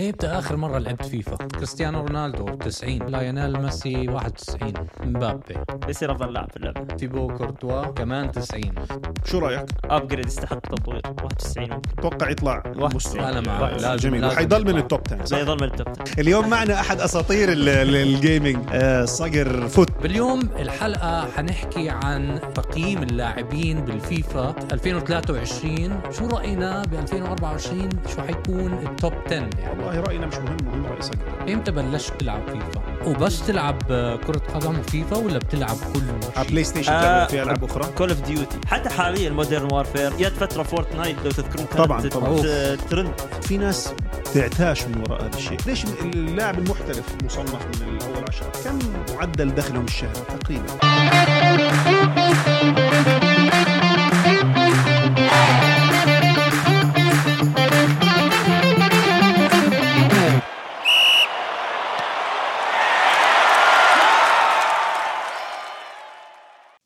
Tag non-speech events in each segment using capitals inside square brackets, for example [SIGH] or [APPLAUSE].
ايمتى اخر مره لعبت فيفا كريستيانو رونالدو 90 لايونيل ميسي 91 مبابي يصير افضل لاعب في اللعبه تيبو كورتوا كمان 90 شو رايك؟ ابجريد يستحق تطوير 91 ممكن اتوقع يطلع مستوى انا مع واحد. لازم- جميل لازم وحيضل من يطلع. التوب 10 لا صح؟ يظل من التوب 10 اليوم معنا احد اساطير ال- ال- الجيمنج آه، صقر فوت باليوم الحلقة حنحكي عن تقييم اللاعبين بالفيفا 2023 شو رأينا ب 2024 شو حيكون التوب 10 يعني والله راينا مش مهم مهم راي صقر امتى بلشت تلعب فيفا وبس تلعب كرة قدم فيفا ولا بتلعب كل على شيء بلاي ستيشن آه. كان في العاب اخرى كول اوف ديوتي حتى حاليا مودرن وارفير جت فتره فورتنايت لو تذكرون كانت طبعاً، ت- طبعاً. ت- ترند في ناس تعتاش من وراء هذا الشيء ليش اللاعب المحترف مصنف من الاول عشرة كم معدل دخلهم الشهري تقريبا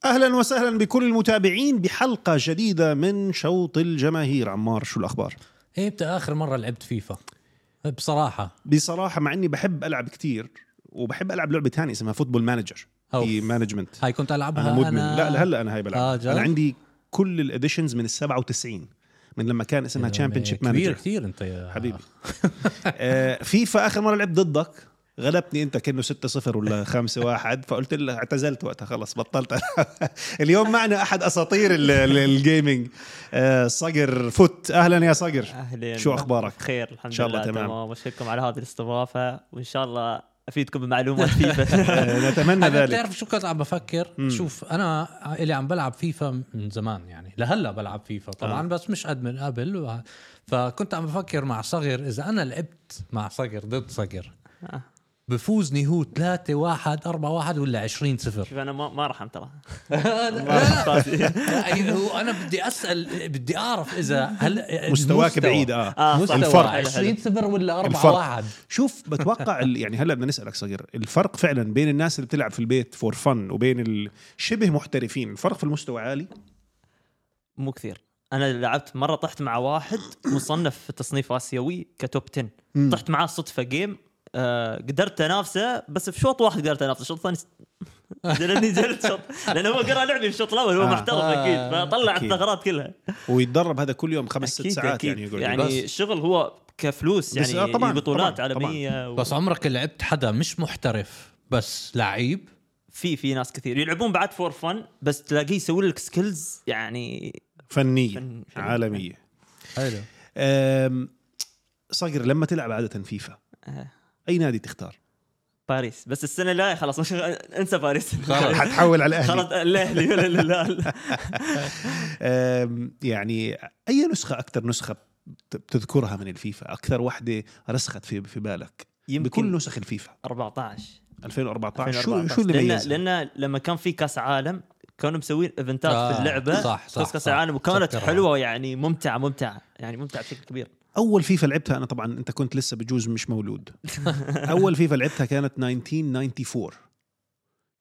اهلا وسهلا بكل المتابعين بحلقه جديده من شوط الجماهير عمار شو الاخبار امتى اخر إيه، مرة لعبت فيفا بصراحة بصراحه مع اني بحب العب كتير وبحب العب لعبه ثانيه اسمها فوتبول مانجر أوف. في مانجمنت هاي كنت العبها انا مدمن لا هلا انا هاي بلعب آه، جد؟ انا عندي كل الاديشنز من ال 97 من لما كان اسمها تشامبيون شيب يعني كبير مانجر كثير انت يا حبيبي آه، فيفا اخر مره لعبت ضدك غلبتني انت كانه [LAUGHS] 6-0 ولا 5-1 فقلت لك اعتزلت وقتها خلص بطلت [LAUGHS] ألعب. اليوم معنا احد اساطير ال- ال- الجيمنج آه، صقر فوت اهلا يا صقر اهلين شو أخبارك؟ بخير الحمد إن شاء الله لله تمام. واشكركم على هذه الاستضافه وان شاء الله افيدكم [LAUGHS] بمعلومات فيفا [LAUGHS] آه، نتمنى انا ذلك بتعرف شو كنت عم بفكر شوف انا اللي عم بلعب فيفا من زمان يعني لهلا بلعب فيفا طبعا آه. بس مش قد من قبل و... فكنت عم بفكر مع صغر اذا انا لعبت مع صغر ضد صغر آه. بفوزني هو 3 1 4 1 ولا 20 0 شوف انا ما ما ارحم [LAUGHS] ترى لا آه، لا [LAUGHS] فاضي. لا، هو انا بدي اسال بدي اعرف اذا هل مستواك مستوى. بعيد اه اه صح. مستوى الفرق. 20 0 ولا 4 الفرق. 1 شوف [LAUGHS] بتوقع ال- يعني هلا بدنا نسالك صغير الفرق فعلا بين الناس اللي بتلعب في البيت فور فن وبين الشبه محترفين الفرق في المستوى عالي مو كثير انا لعبت مره طحت مع واحد مصنف في تصنيف اسيوي كتوب 10 مم. طحت معاه صدفه جيم آه قدرت انافسه بس في شوط واحد قدرت انافسه الشوط الثاني س- لاني جلت شوط لان هو قرا لعبي في الشوط الاول هو آه. محترف آه. اكيد فطلع أكيد. الثغرات كلها ويتدرب هذا كل يوم خمس ست ساعات يعني يقعد يعني بس. الشغل هو كفلوس بس يعني آه، طبعاً، بطولات طبعاً، طبعاً. عالميه و... بس عمرك لعبت حدا مش محترف بس لعيب في في ناس كثير يلعبون بعد فور فن بس تلاقيه يسوي لك سكيلز يعني فنيه فن- فن- عالميه حلو أم، صقر لما تلعب عاده فيفا آه. اي نادي تختار باريس بس السنه الجايه خلاص مش انسى باريس حتحول [LAUGHS] على خلاص الاهلي الاهلي لا لا لا لا [LAUGHS] أم، يعني اي نسخه اكثر نسخه بت- بتذكرها من الفيفا اكثر وحده رسخت في في بالك بكل يمكن نسخ الفيفا 14 طيب، 2014 شو 2014 شو اللي لأن- ميزها؟ لان لما كان في كاس عالم كانوا مسوين ايفنتات آه، في اللعبه صح، صح، كاس كاس صح. العالم وكانت أتذكرها. حلوه يعني ممتعه ممتعه يعني ممتعه بشكل كبير اول فيفا لعبتها انا طبعا انت كنت لسه بجوز [LAUGHS] مش مولود اول فيفا لعبتها كانت 1994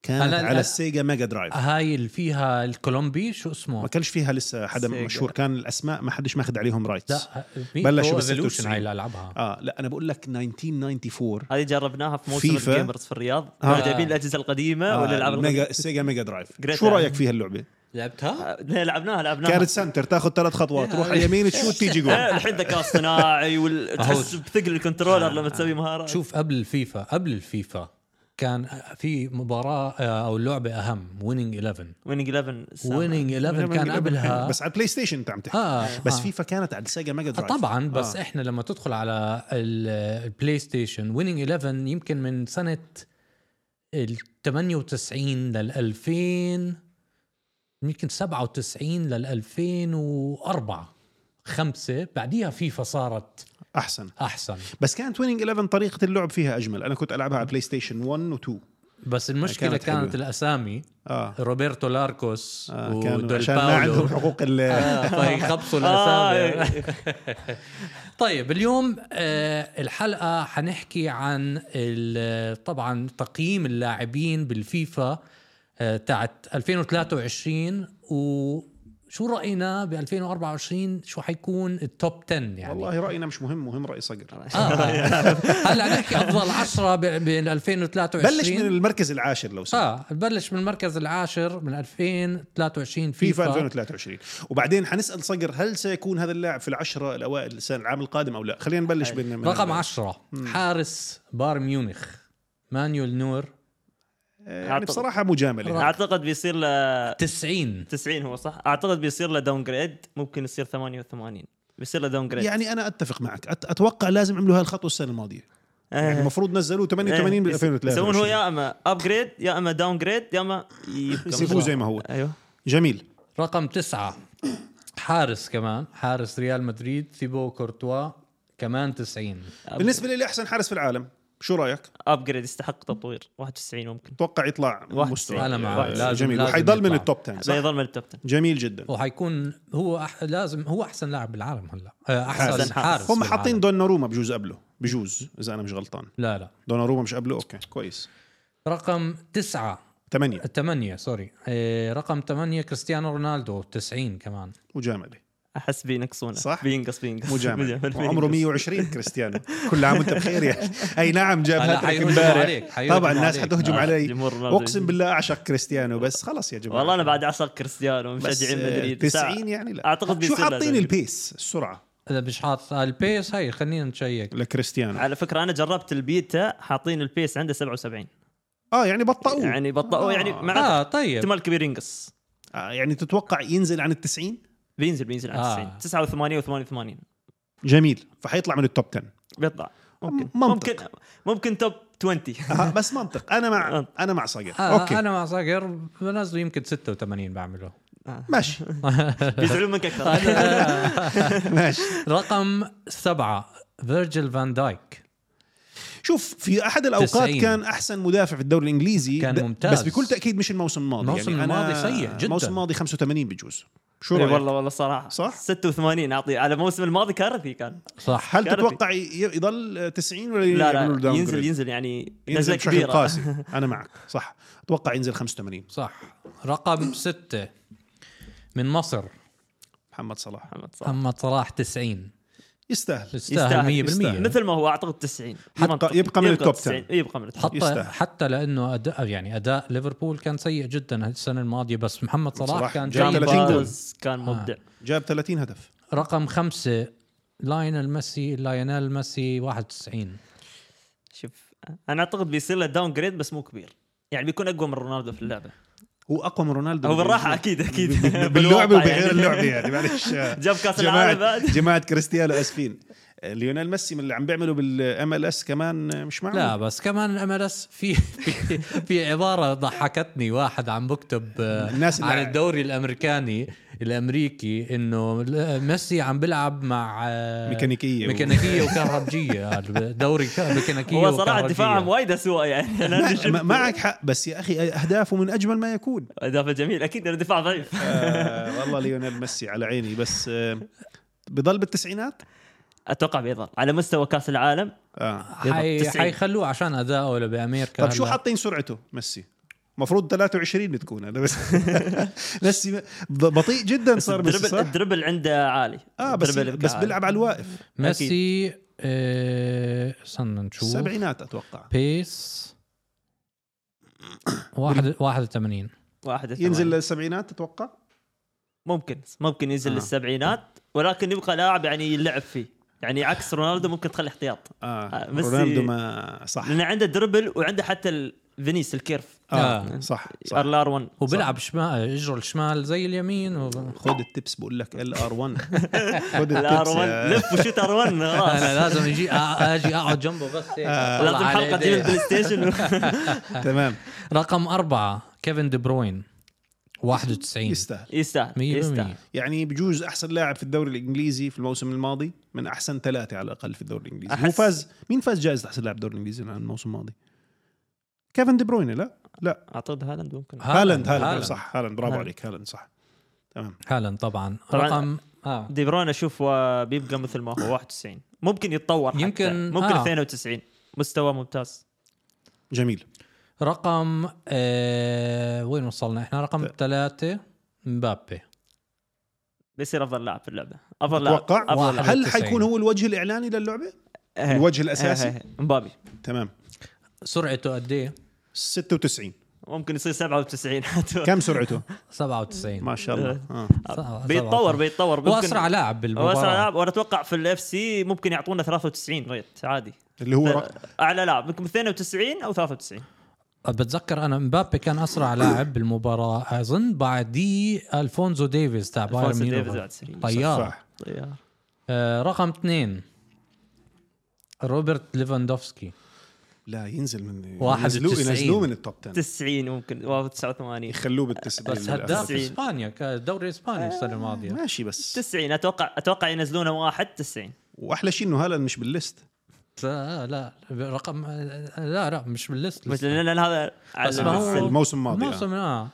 كانت أنا- آه. على السيجا ميجا درايف هاي اللي فيها الكولومبي شو ما اسمه؟ كانش فيها لسه حدا سيجا. مشهور كان الاسماء ما حدش ماخذ عليهم رايتس لا بلشوا بال ايفولوشن 96. هاي اللي العبها اه لا انا بقول لك 1994 هذه جربناها في موسم فيفا. الجيمرز في الرياض آه. كانوا جايبين الاجهزه القديمه آه والالعاب ميجا السيجا ميجا درايف Great شو time. يعني. رايك فيها اللعبه لعبتها؟ القديمة. آه، لعبناها لعبناها كانت سنتر تاخذ ثلاث خطوات يا تروح على عمي. اليمين تشوت تيجي جول [LAUGHS] آه، الحين ذكاء اصطناعي وال- تحس أهو. بثقل الكنترولر لما تسوي مهارات شوف قبل الفيفا قبل الفيفا كان في مباراة آه، او لعبة اهم ويننج 11 ويننج 11 ويننج 11 [LAUGHS] كان قبلها بس على البلاي ستيشن انت عم تحكي اه بس آه. فيفا كانت على السيجا ميجا درايف طبعا بس إيه. آه. احنا لما تدخل على ال- البلاي ستيشن ويننج 11 يمكن من سنه ال 98 لل 2000 يمكن 97 لل 2004 خمسة بعديها فيفا صارت احسن احسن بس كانت ويننج 11 طريقه اللعب فيها اجمل انا كنت العبها على بلاي ستيشن 1 و2 بس المشكله كانت كانت, حلوة. كانت الاسامي اه روبرتو لاركوس آه آه، كانوا ودول عشان ما عندهم باولو حقوق ال آه، فيخبصوا آه، الاسامي [LAUGHS] طيب اليوم آه، الحلقة حنحكي عن ال- طبعا تقييم اللاعبين بالفيفا آه، تاعت 2023 و شو راينا ب 2024 شو حيكون التوب 10 يعني والله راينا مش مهم مهم راي صقر آه. هلا نحكي افضل 10 بين 2023 بلش من المركز العاشر لو سمحت اه بلش من المركز العاشر من 2023 فيفا فيفا 2023 وبعدين حنسال صقر هل سيكون هذا اللاعب في العشرة الاوائل السنه العام القادم او لا خلينا نبلش حلو. من من- رقم 10 حارس بايرن ميونخ مانويل نور آه، يعني بصراحه مجامله اعتقد بيصير ل 90 90 هو صح اعتقد بيصير له داون جريد ممكن يصير 88 بيصير له داون جريد يعني انا اتفق معك أت- اتوقع لازم يعملوا هاي الخطوه السنه الماضيه يعني المفروض نزلوه 88 بال 2003 أه. إيه. يسوون هو يا اما ابجريد يا اما داون جريد يا اما يبقى يسيبوه زي ما هو ايوه جميل رقم تسعة حارس كمان حارس ريال مدريد ثيبو كورتوا كمان 90 بالنسبه لي احسن حارس في العالم شو رايك؟ ابجريد يستحق تطوير 91 ممكن اتوقع يطلع واحد مستوى أنا معك. آه، لازم- جميل لازم وحيضل من يطلع. التوب 10 صح؟ بيظل من التوب 10 جميل جدا وحيكون هو أح... لازم هو احسن لاعب بالعالم هلا آه، احسن حارس. حارس هم بالعالم. حاطين دوناروما بجوز قبله بجوز اذا انا مش غلطان لا لا دوناروما مش قبله اوكي كويس رقم تسعة ثمانية ثمانية سوري آه، رقم ثمانية كريستيانو رونالدو 90 كمان مجاملة احس بينقصونه صح؟ بينقص بينقص [LAUGHS] مجاملة بينقص. وعمره 120 كريستيانو كل عام وانت بخير يا أخي. اي نعم جاب هلا هاتريك حيهجموا عليك، امبارح حيهجموا طبعا الناس عليك. حتهجم آه، علي جمهور رونالدو. اقسم بالله اعشق كريستيانو بس خلص يا جماعة والله انا بعد اعشق كريستيانو ومشجعين مدريد مدريد بس 90 يعني لا أعتقد شو بيصير حاطين لازم. البيس السرعة اذا مش حاط البيس هاي خلينا نشيك لكريستيانو على فكره انا جربت البيتا حاطين البيس عنده 77 اه يعني بطأوه يعني بطأوه يعني مع اه طيب احتمال كبير ينقص آه يعني تتوقع ينزل عن التسعين بينزل بينزل على آه. 90 89 و88 جميل فحيطلع من التوب 10 بيطلع ممكن منطق. ممكن ممكن توب [LAUGHS] 20 آه بس منطق انا مع انا مع صقر آه اوكي انا مع صقر بنزله يمكن 86 بعمله [LAUGHS] ماشي [LAUGHS] بيزعلون منك [LAUGHS] اكثر ماشي رقم سبعة فيرجل فان دايك شوف في احد الاوقات 90. كان احسن مدافع في الدوري الانجليزي كان ب- ممتاز. بس بكل تاكيد مش الموسم الماضي الموسم يعني أنا- الماضي سيء جداً. الموسم الماضي 85 بجوز شو إيه رايك والله والله صراحه صح؟ 86 اعطيه على الموسم الماضي كارثي كان صح هل كارثي. تتوقع ي- يضل 90 ولا لا يعملوا له لا إيه، downgrade؟ ينزل ينزل يعني نزله ينزل بشكل كبيره قاسي انا معك صح اتوقع ينزل 85 صح رقم ستة من مصر محمد صلاح [LAUGHS] محمد صلاح محمد صلاح 90 يستاهل يستاهل، يستاهل 100% مثل ما هو اعتقد 90 منطق. يبقى من التوب 90. 10. يبقى من التوب حتى يستاهل. حتى لانه اداء يعني اداء ليفربول كان سيء جدا السنه الماضيه بس محمد صلاح, صلاح كان جاب جيد. 30 جول. بارز كان آه. مبدع جاب 30 هدف رقم خمسة لاينل ميسي لاينل ميسي 91 شوف انا اعتقد بيصير له داون جريد بس مو كبير يعني بيكون اقوى من رونالدو في اللعبه هو اقوى من رونالدو هو بالراحه اكيد اكيد باللعبه بالواقع وبغير يعني. اللعبه [LAUGHS] يعني معلش جاب كاس جماعه العالم بعد [LAUGHS] جماعه كريستيانو اسفين ليونيل ميسي من اللي عم بيعمله بالام ال اس كمان آه، مش معقول لا بس كمان الام اس في في في عباره ضحكتني واحد عم بكتب آه، الناس اللي عن ع- الدوري الامريكاني الامريكي انه ل- آه، ميسي عم بيلعب مع آه، ميكانيكية و- [LAUGHS] ميكانيكيه وكهربجيه دوري ك- ميكانيكيه هو صراحه وكهربجية. دفاعهم وايد اسوء [LAUGHS] يعني انا مع- شفت مع- معك حق بس يا اخي اهدافه من اجمل ما يكون اضافه جميل اكيد لأنه دفاع ضعيف [LAUGHS] آه والله ليونيل ميسي على عيني بس آه بضل بالتسعينات اتوقع بيظهر على مستوى كاس العالم اه حي... 90. حيخلوه عشان اداؤه بامريكا طب شو هلا. حاطين سرعته ميسي المفروض 23 بتكون انا [LAUGHS] بس ميسي بطيء جدا صار ميسي الدربل صح؟ الدربل عنده عالي اه بس الدربل بس كعالي. بيلعب على الواقف ميسي آه، استنى نشوف السبعينات اتوقع بيس واحد 81 واحد ينزل ثمانية. للسبعينات تتوقع؟ ممكن ممكن ينزل آه. للسبعينات ولكن يبقى لاعب يعني يلعب فيه يعني عكس رونالدو ممكن تخلي احتياط اه ميسي- رونالدو ما صح لان عنده دربل وعنده حتى ال- فينيس الكيرف آه. اه صح صح ار 1 وبيلعب شمال اجره آه، الشمال زي اليمين و... خذ التبس بقول لك ال ار [LAUGHS] 1 خذ الار التبس 1 آه. لف وشوت ار [LAUGHS] 1 انا خلاص لازم اجي اجي اقعد جنبه بس هيك آه. أطلع لازم على حلقه إيديه. تجيب البلاي ستيشن [LAUGHS] تمام رقم أربعة كيفن دي بروين 91 يستاهل يستاهل 100% يستاهل يعني بجوز احسن لاعب في الدوري الانجليزي في الموسم الماضي من احسن ثلاثه على الاقل في الدوري الانجليزي هو أحس- فاز مين فاز جائزه احسن لاعب الدوري الانجليزي عن الموسم الماضي؟ كيفن دي بروين لا لا اعتقد هالاند ممكن هالاند هالاند هالاند. صح هالاند برافو هالاند. عليك هالاند صح تمام هالاند طبعا طبعاً. رقم آه. دي بروين اشوف آه، بيبقى مثل ما هو 91 ممكن يتطور حتى. يمكن- ممكن آه. 92 مستوى ممتاز جميل رقم آه وين وصلنا احنا رقم ثلاثة مبابي بيصير افضل لاعب في اللعبه افضل لاعب اتوقع أفضل. هل 91. حيكون هو الوجه الاعلاني للعبه؟ إيه. الوجه إيه، إيه، الاساسي؟ إيه. مبابي تمام سرعته قد ايه؟ 96 ممكن يصير [LAUGHS] 97 حتى كم سرعته؟ 97 ما شاء الله آه. بيتطور بيتطور هو ممكن- اسرع لاعب هو بالمباراه اسرع لاعب وانا اتوقع في الاف سي ممكن يعطونا 93 ريت عادي اللي هو رق- اعلى لاعب ممكن 92 او 93 بتذكر انا مبابي كان اسرع لاعب بالمباراه اظن بعديه الفونزو ديفيز تاع بايرن ألفونسو ديفيز ميونخ بعد 90. طيار صح. طيار. آه رقم اثنين روبرت ليفاندوفسكي لا ينزل من 91. ينزلوه- ينزلوه من التوب 10 90 ممكن واو 89 يخلوه بالتسعين بس هداف تسعين. اسبانيا كان دوري اسباني آه. السنه يعني. الماضيه ماشي بس 90 اتوقع اتوقع ينزلونه واحد 90 واحلى شيء انه هالاند مش بالليست آه. لا لا رقم لا لا مش بالليست بس لان لأن هذا على بس ما هو- السن. الموسم الماضي الموسم آه. آه.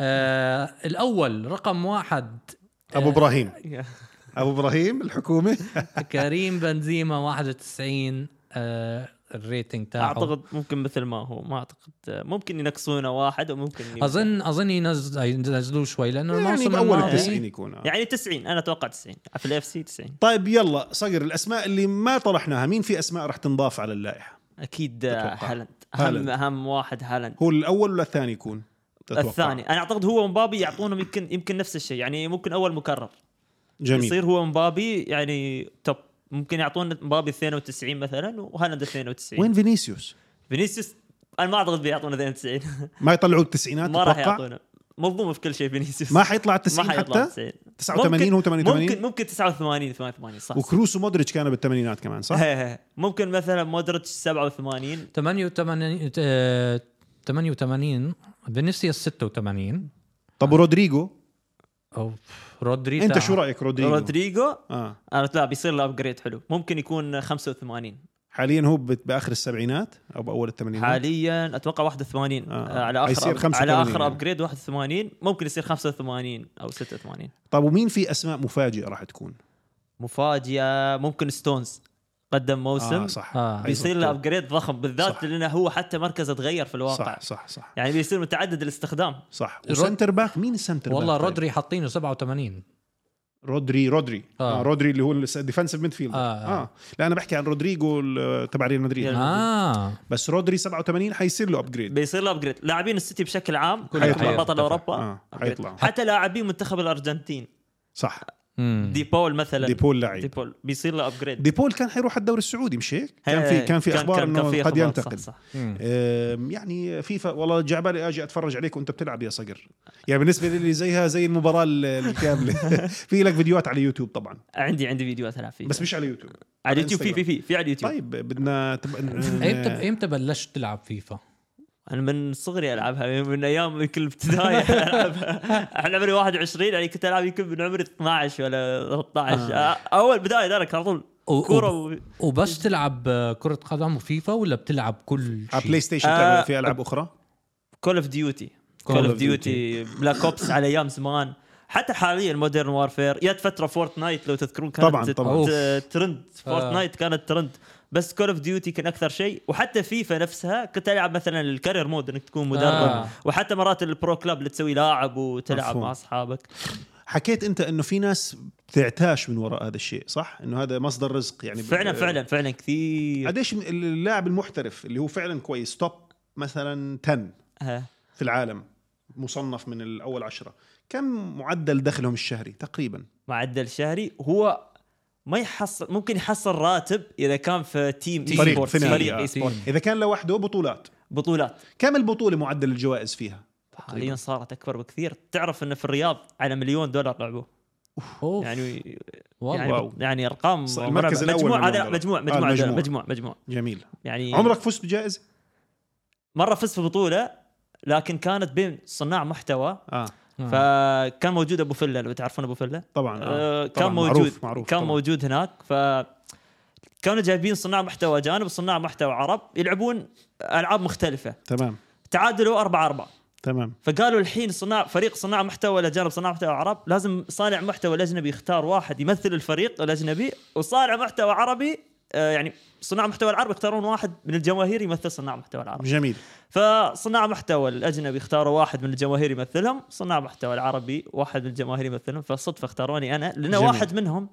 آه الاول رقم واحد ابو ابراهيم ابو ابراهيم الحكومه كريم بنزيما 91 آه الريتنج تاعه اعتقد ممكن مثل ما هو ما اعتقد ممكن ينقصونه واحد وممكن يمكن- اظن اظن ينزل ينزلوه شوي لانه يعني الموسم باول الماضي- التسعين يكون آه. يعني 90 انا اتوقع 90 في الاف سي 90 طيب يلا صقر الاسماء اللي ما طرحناها مين في اسماء راح تنضاف على اللائحه اكيد أتوقع. هالاند هالاند. اهم اهم واحد هالاند هو الاول ولا الثاني يكون تتوقع؟ الثاني انا اعتقد هو ومبابي يعطونهم يمكن يمكن نفس الشيء يعني ممكن اول مكرر جميل يصير هو مبابي يعني توب ممكن يعطون مبابي 92 مثلا وهالاند 92 وين فينيسيوس فينيسيوس انا ما اعتقد بيعطونه 92 ما يطلعوا [LAUGHS] التسعينات ما راح تتوقع يعطونه مظلومه في كل شيء فينيسيوس ما حيطلع ما التسعين حيطلع حتى 90 89 هو 88 ممكن ممكن 89 88 صح وكروس ومودريتش كانوا بالثمانينات كمان صح؟ هي هي. [LAUGHS] ممكن مثلا مودريتش 87 88 آه، 88 فينيسيوس 86 طب ورودريجو او رودري انت تاع- شو رايك رودريجو؟ رودريجو اه آه، لا بيصير له ابجريد حلو ممكن يكون 85 حاليا هو بت- باخر السبعينات او باول الثمانينات حاليا اتوقع 81 آه. آه. على اخر حيصير أب- 85 على اخر يعني. ابجريد 81 ممكن يصير 85 او 86 طب طيب، ومين في اسماء مفاجئه راح تكون؟ مفاجاه ممكن ستونز قدم موسم اه صح آه. أيوة. بيصير له ابجريد ضخم بالذات صح. لانه هو حتى مركزه تغير في الواقع صح صح صح يعني بيصير متعدد الاستخدام صح رود- وسنتر باك مين السنتر باك؟ والله طيب؟ رودري حاطينه 87 رودري رودري آه. آه. آه رودري اللي هو الديفنسيف ميدفيلد آه، آه. اه لا انا بحكي عن رودريجو ال- تبع ريال مدريد آه. ريال- اه بس رودري 87 حيصير له ابجريد بيصير له ابجريد لاعبين السيتي بشكل عام كلهم حيطلع حيرتفع. بطل اوروبا آه، upgrade. حيطلعوا. حتى لاعبين منتخب الارجنتين صح مم. دي بول مثلا دي بول لعيب دي بول بيصير له آه، ابجريد دي بول كان حيروح على الدوري السعودي مش هيك؟ كان في كان في اخبار انه قد ينتقل صح صح. مم. آم، يعني فيفا والله جعبالي اجي اتفرج عليك وانت بتلعب يا صقر يعني بالنسبه لي زيها زي المباراه ال- الكامله في لك فيديوهات على يوتيوب طبعا عندي عندي فيديوهات العب فيها بس مش على يوتيوب على اليوتيوب في في إنستغرام. في في على اليوتيوب طيب بدنا تب... امتى امتى بلشت تلعب فيفا؟ انا من صغري العبها من ايام يمكن [LAUGHS] الابتدائي العبها انا عمري 21 يعني كنت العب يمكن من عمري 12 ولا 13 آه. اول بدايه ذلك على طول و- كوره و- و... وبس تلعب آه، كرة قدم وفيفا ولا بتلعب كل على شيء؟ بلاي ستيشن آه، تلعب في العاب اخرى كول اوف ديوتي كول اوف of ديوتي بلاك اوبس على ايام زمان حتى حاليا مودرن وارفير جت فتره فورتنايت لو تذكرون كانت طبعاً، طبعاً. أوف. آه. ت- ترند فورتنايت كانت ترند بس كول اوف ديوتي كان اكثر شيء وحتى فيفا نفسها كنت العب مثلا الكارير مود انك تكون مدرب آه. وحتى مرات البرو كلاب اللي تسوي لاعب وتلعب مفهوم. مع اصحابك حكيت انت انه في ناس بتعتاش من وراء هذا الشيء صح انه هذا مصدر رزق يعني ب- فعلا فعلا فعلا كثير قديش من اللاعب المحترف اللي هو فعلا كويس توب مثلا 10 آه. في العالم مصنف من الاول عشرة كم معدل دخلهم الشهري تقريبا معدل شهري هو ما يحصل ممكن يحصل راتب اذا كان في تيم فريق إي سبورت، ثنائي. فريق آه. اي سبورت تيم. اذا كان لوحده بطولات بطولات كم البطوله معدل الجوائز فيها حاليا صارت اكبر بكثير تعرف انه في الرياض على مليون دولار لعبوه أوف. يعني يعني والله واو. يعني ارقام ص- المركز مرعبة. الأول مجموع مليون هذا دولار. مجموع آه، مجموع المجموع. هذا- مجموع مجموع جميل يعني عمرك فزت بجائزه مره فزت ببطوله لكن كانت بين صناع محتوى اه آه. يعني فكان موجود ابو فله لو تعرفون ابو فله طبعا آه، آه. كان طبعاً، موجود معروف معروف كان طبعاً. موجود هناك ف كانوا جايبين صناع محتوى اجانب وصناع محتوى عرب يلعبون العاب مختلفه تمام تعادلوا 4 4 تمام فقالوا الحين صناع فريق صناع محتوى الاجانب صناع محتوى عرب لازم صانع محتوى الاجنبي يختار واحد يمثل الفريق الاجنبي وصانع محتوى عربي آه، يعني صناع محتوى العرب يختارون واحد من الجماهير يمثل صناع محتوى العرب جميل فصناع محتوى الاجنبي اختاروا واحد من الجماهير يمثلهم صناع محتوى العربي واحد من الجماهير يمثلهم فصدفه اختاروني انا لان جميل. واحد منهم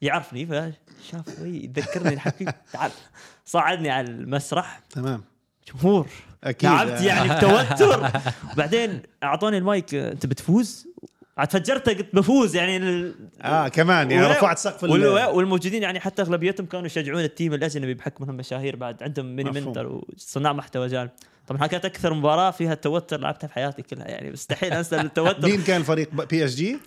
يعرفني فشاف وي يذكرني الحبيب تعال صعدني على المسرح تمام جمهور اكيد تعبت يعني بتوتر بعدين اعطوني المايك آه، انت بتفوز عاد فجرت قلت بفوز يعني ال- اه كمان يعني ولا- رفعت سقف ال- وال- والموجودين يعني حتى اغلبيتهم كانوا يشجعون التيم الاجنبي بحكم انهم مشاهير بعد عندهم ميني مفهوم. منتر وصناع محتوى جال طبعا كانت اكثر مباراه فيها توتر لعبتها في حياتي كلها يعني مستحيل انسى التوتر [LAUGHS] مين كان فريق بي اس جي؟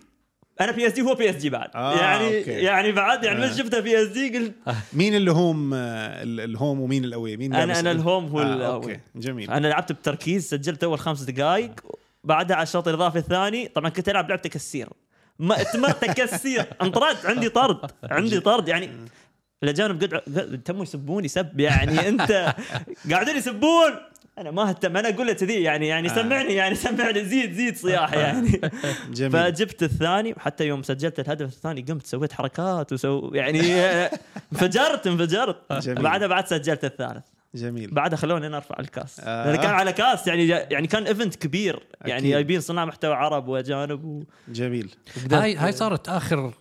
انا بي اس دي هو بي اس دي بعد آه، يعني أوكي. يعني بعد يعني آه. من شفتها بي اس دي قلت مين اللي هوم آه، ال- الهوم ومين الاوي؟ مين انا لابس انا ال- الهوم هو آه، الأول. اوكي جميل انا يعني. لعبت بتركيز سجلت اول خمس دقائق بعدها على الشوط الاضافي الثاني طبعا كنت العب لعبه كسير ما اتمرت كسير [LAUGHS] انطرد عندي طرد عندي طرد يعني الاجانب قد قد- تموا يسبوني سب يعني انت قاعدين يسبون انا ما اهتم انا اقول له كذي يعني يعني آه. سمعني يعني سمعني زيد زيد صياح يعني [LAUGHS] جميل فجبت الثاني حتى يوم سجلت الهدف الثاني قمت سويت حركات وسو [LAUGHS] يعني انفجرت انفجرت جميل. بعدها بعد سجلت الثالث جميل بعدها خلوني انا ارفع الكاس آه. آه. لان كان على كاس يعني يعني كان ايفنت كبير أكيد. يعني جايبين صناع محتوى عرب واجانب و... جميل هاي هاي صارت اخر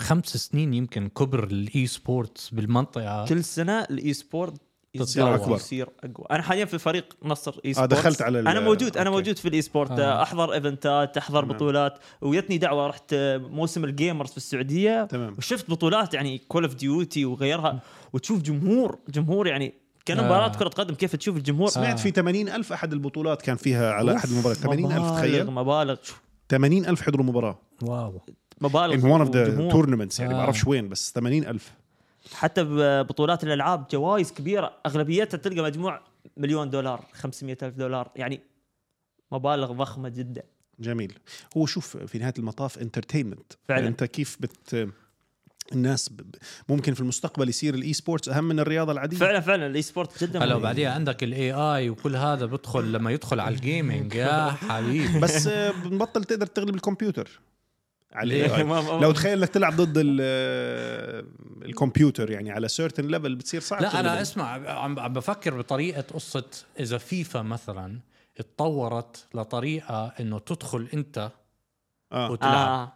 خمس سنين يمكن كبر الاي سبورتس بالمنطقه كل سنه الاي سبورت تصير يزداد أكبر. يصير اقوى انا حاليا في فريق نصر اي آه، سبورت دخلت على ال- انا موجود انا أوكي. موجود في الاي سبورت آه. آه. احضر ايفنتات احضر تمام. بطولات ويتني دعوه رحت آه، موسم الجيمرز في السعوديه تمام وشفت بطولات يعني كول اوف ديوتي وغيرها وتشوف جمهور جمهور يعني كان آه. مباراه كره قدم كيف تشوف الجمهور سمعت في 80 ألف أحد البطولات كان فيها على أحد المباريات 80 ألف مبالغ- تخيل مبالغ 80 ألف حضروا مباراة واو مبالغ in one of the وجمهور. tournaments يعني آه. ما بعرفش وين بس 80 ألف حتى ببطولات الالعاب جوائز كبيره اغلبيتها تلقى مجموع مليون دولار 500 الف دولار يعني مبالغ ضخمه جدا جميل هو شوف في نهاية المطاف انترتينمنت فعلاً. أنت كيف بت الناس ب- ب- ممكن في المستقبل يصير الاي سبورتس اهم من الرياضه العاديه فعلا فعلا الاي سبورت جدا هلا مهم. وبعديها عندك الاي اي وكل هذا بدخل لما يدخل على الجيمنج يا حبيبي بس آه، بنبطل تقدر تغلب الكمبيوتر على ليه؟ ال AI. [LAUGHS] ما- ما- لو تخيل انك تلعب ضد ال- آه، الكمبيوتر يعني على سيرتن ليفل بتصير صعب لا تغلبهم. انا اسمع عم عم بفكر بطريقه قصه اذا فيفا مثلا اتطورت لطريقه انه تدخل انت آه. وتلعب آه.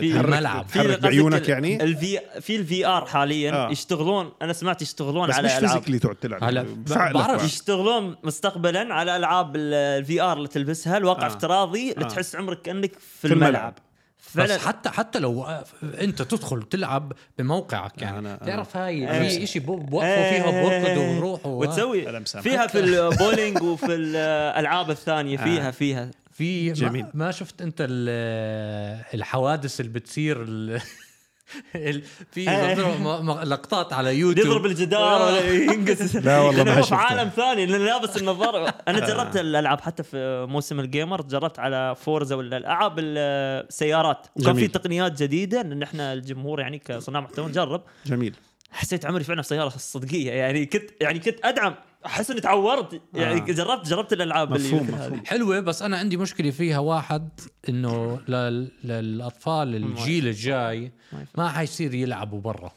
في تحرك الملعب. في تحرك قصدك بعيونك ال- يعني الفي في الفي ار حاليا آه. آه. يشتغلون انا سمعت يشتغلون بس على مش يعني. العاب فيزيكلي تقعد تلعب هلا، بفعلك بعرف. بعد. يشتغلون مستقبلا على العاب الفي ار اللي تلبسها الواقع آه. آه. افتراضي اللي آه. تحس عمرك كانك في, في الملعب. الملعب, بس فعلا حتى حتى لو انت تدخل تلعب بموقعك يعني أنا- أنا- تعرف هاي إيه. في شيء بوقفوا فيها إيه. بورقدوا وروحوا وتسوي أنا مسامحك. فيها في البولينج وفي الالعاب الثانيه آه. فيها فيها في جميل. ما, ما شفت انت ال- الحوادث اللي بتصير ال... [LAUGHS] ال... في إيه. بضرب م- م- لقطات على يوتيوب يضرب الجدار ولا [LAUGHS] [LAUGHS] ينقص لا والله لأنه ما هو في شفتها. عالم ثاني لانه لابس النظاره آه. انا جربت الالعاب حتى في موسم الجيمر جربت على فورزا ولا العاب السيارات وكان جميل. في تقنيات جديده ان احنا الجمهور يعني كصناع محتوى نجرب جميل حسيت عمري فعلا في سياره الصدقيه يعني كنت يعني كنت ادعم احس اني تعورت يعني آه. جربت جربت الالعاب اللي مفهوم مثل هذه. مفهوم حلوه بس انا عندي مشكله فيها واحد انه لل... للاطفال الجيل الجاي ما حيصير يلعبوا برا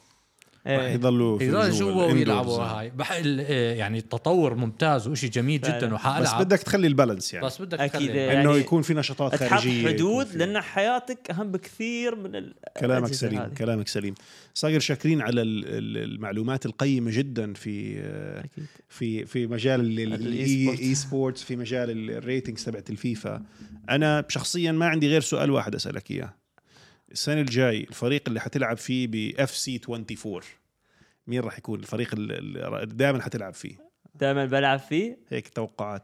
راح إيه. يضلوا في يضلوا الجو، جوا الindoors. ويلعبوا هاي بح... ال- آه، يعني التطور ممتاز وشيء جميل فعلاً. جدا بس وحالعب بدك تخلي البالانس يعني بس بدك أكيد. تخلي يعني انه يكون في نشاطات تحط خارجيه يكون حدود في- لان حياتك اهم بكثير من ال- كلامك الأجهزة سليم هذه. كلامك سليم صاير شاكرين على ال- ال- المعلومات القيمه جدا في آه، أكيد. في في مجال ال- ال- الإي- الاي سبورتس في مجال ال- الريتنجز تبعت الفيفا انا شخصيا ما عندي غير سؤال واحد اسالك اياه السنه الجاي الفريق اللي حتلعب فيه باف سي 24 مين راح يكون الفريق اللي دائما حتلعب فيه دائما بلعب فيه هيك [LAUGHS] توقعات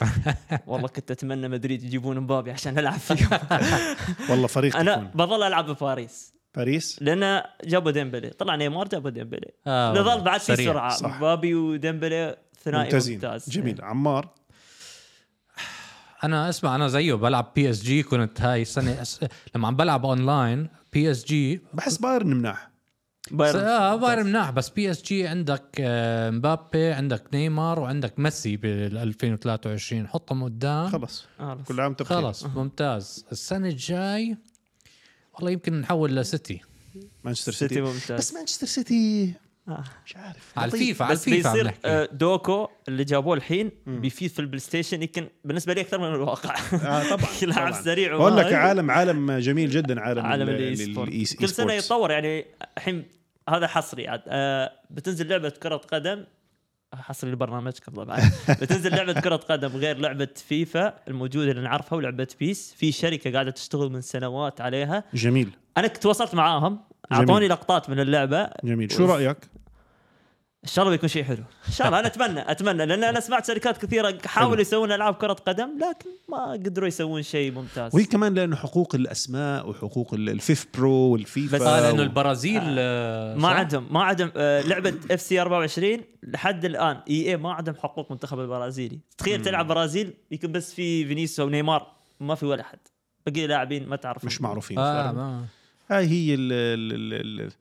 والله كنت اتمنى مدريد يجيبون مبابي عشان العب فيهم [LAUGHS] والله فريق انا انا بظل العب بباريس باريس لان جابوا ديمبلي طلع نيمار جابوا ديمبلي آه والله. نظل بعد في سريع. سرعه صح. مبابي وديمبلي ثنائي ممتازين ممتاز جميل عمار انا اسمع انا زيه بلعب بي اس جي كنت هاي السنه أس... لما عم بلعب اونلاين بي اس جي بحس بايرن مناح س- بايرن اه بايرن مناح بس بي اس جي عندك آه، مبابي عندك نيمار وعندك ميسي بال 2023 حطهم قدام خلص آه، كل عام وأنت بخير. خلص ممتاز السنه الجاي والله يمكن نحول لسيتي مانشستر سيتي سيتي ممتاز بس مانشستر سيتي آه. مش عارف طيب. على لطيف. الفيفا على بس الفيفا عم بيصير نحكي آه، دوكو اللي جابوه الحين مم. بيفيد في البلاي ستيشن يمكن بالنسبه لي اكثر من الواقع آه [LAUGHS] طبعا لاعب طبعا سريع بقول لك وهاي. عالم عالم جميل جدا عالم عالم ال- الاي ال- سبورت الإي- كل سنه إي سبورتس. يتطور يعني الحين هذا حصري عاد آه بتنزل لعبه كره قدم حصري لبرنامجكم طبعا [LAUGHS] بتنزل لعبه كره قدم غير لعبه فيفا الموجوده اللي نعرفها ولعبه بيس في شركه قاعده تشتغل من سنوات عليها جميل انا تواصلت معاهم جميل. اعطوني لقطات من اللعبه جميل شو رايك؟ ان شاء الله بيكون شيء حلو ان شاء الله انا اتمنى اتمنى لان انا سمعت شركات كثيره حاولوا حلو. يسوون العاب كره قدم لكن ما قدروا يسوون شيء ممتاز وهي كمان لانه حقوق الاسماء وحقوق ال- الفيف برو والفيفا بس- آه لانه و- البرازيل آه، ما صح؟ عندهم ما عندهم آه، لعبه اف سي 24 لحد الان اي اي ما عندهم حقوق منتخب البرازيلي تخيل تلعب برازيل يمكن بس في فينيسيوس ونيمار ما في ولا احد بقي لاعبين ما تعرف مش معروفين اه هاي ما هي ال ال ال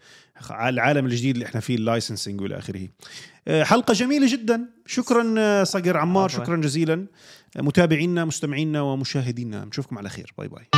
العالم الجديد اللي احنا فيه اللايسنسنج والى اخره آه، حلقه جميله جدا شكرا آه، صقر عمار عفواً. شكرا جزيلا آه، متابعينا مستمعينا ومشاهدينا نشوفكم على خير باي باي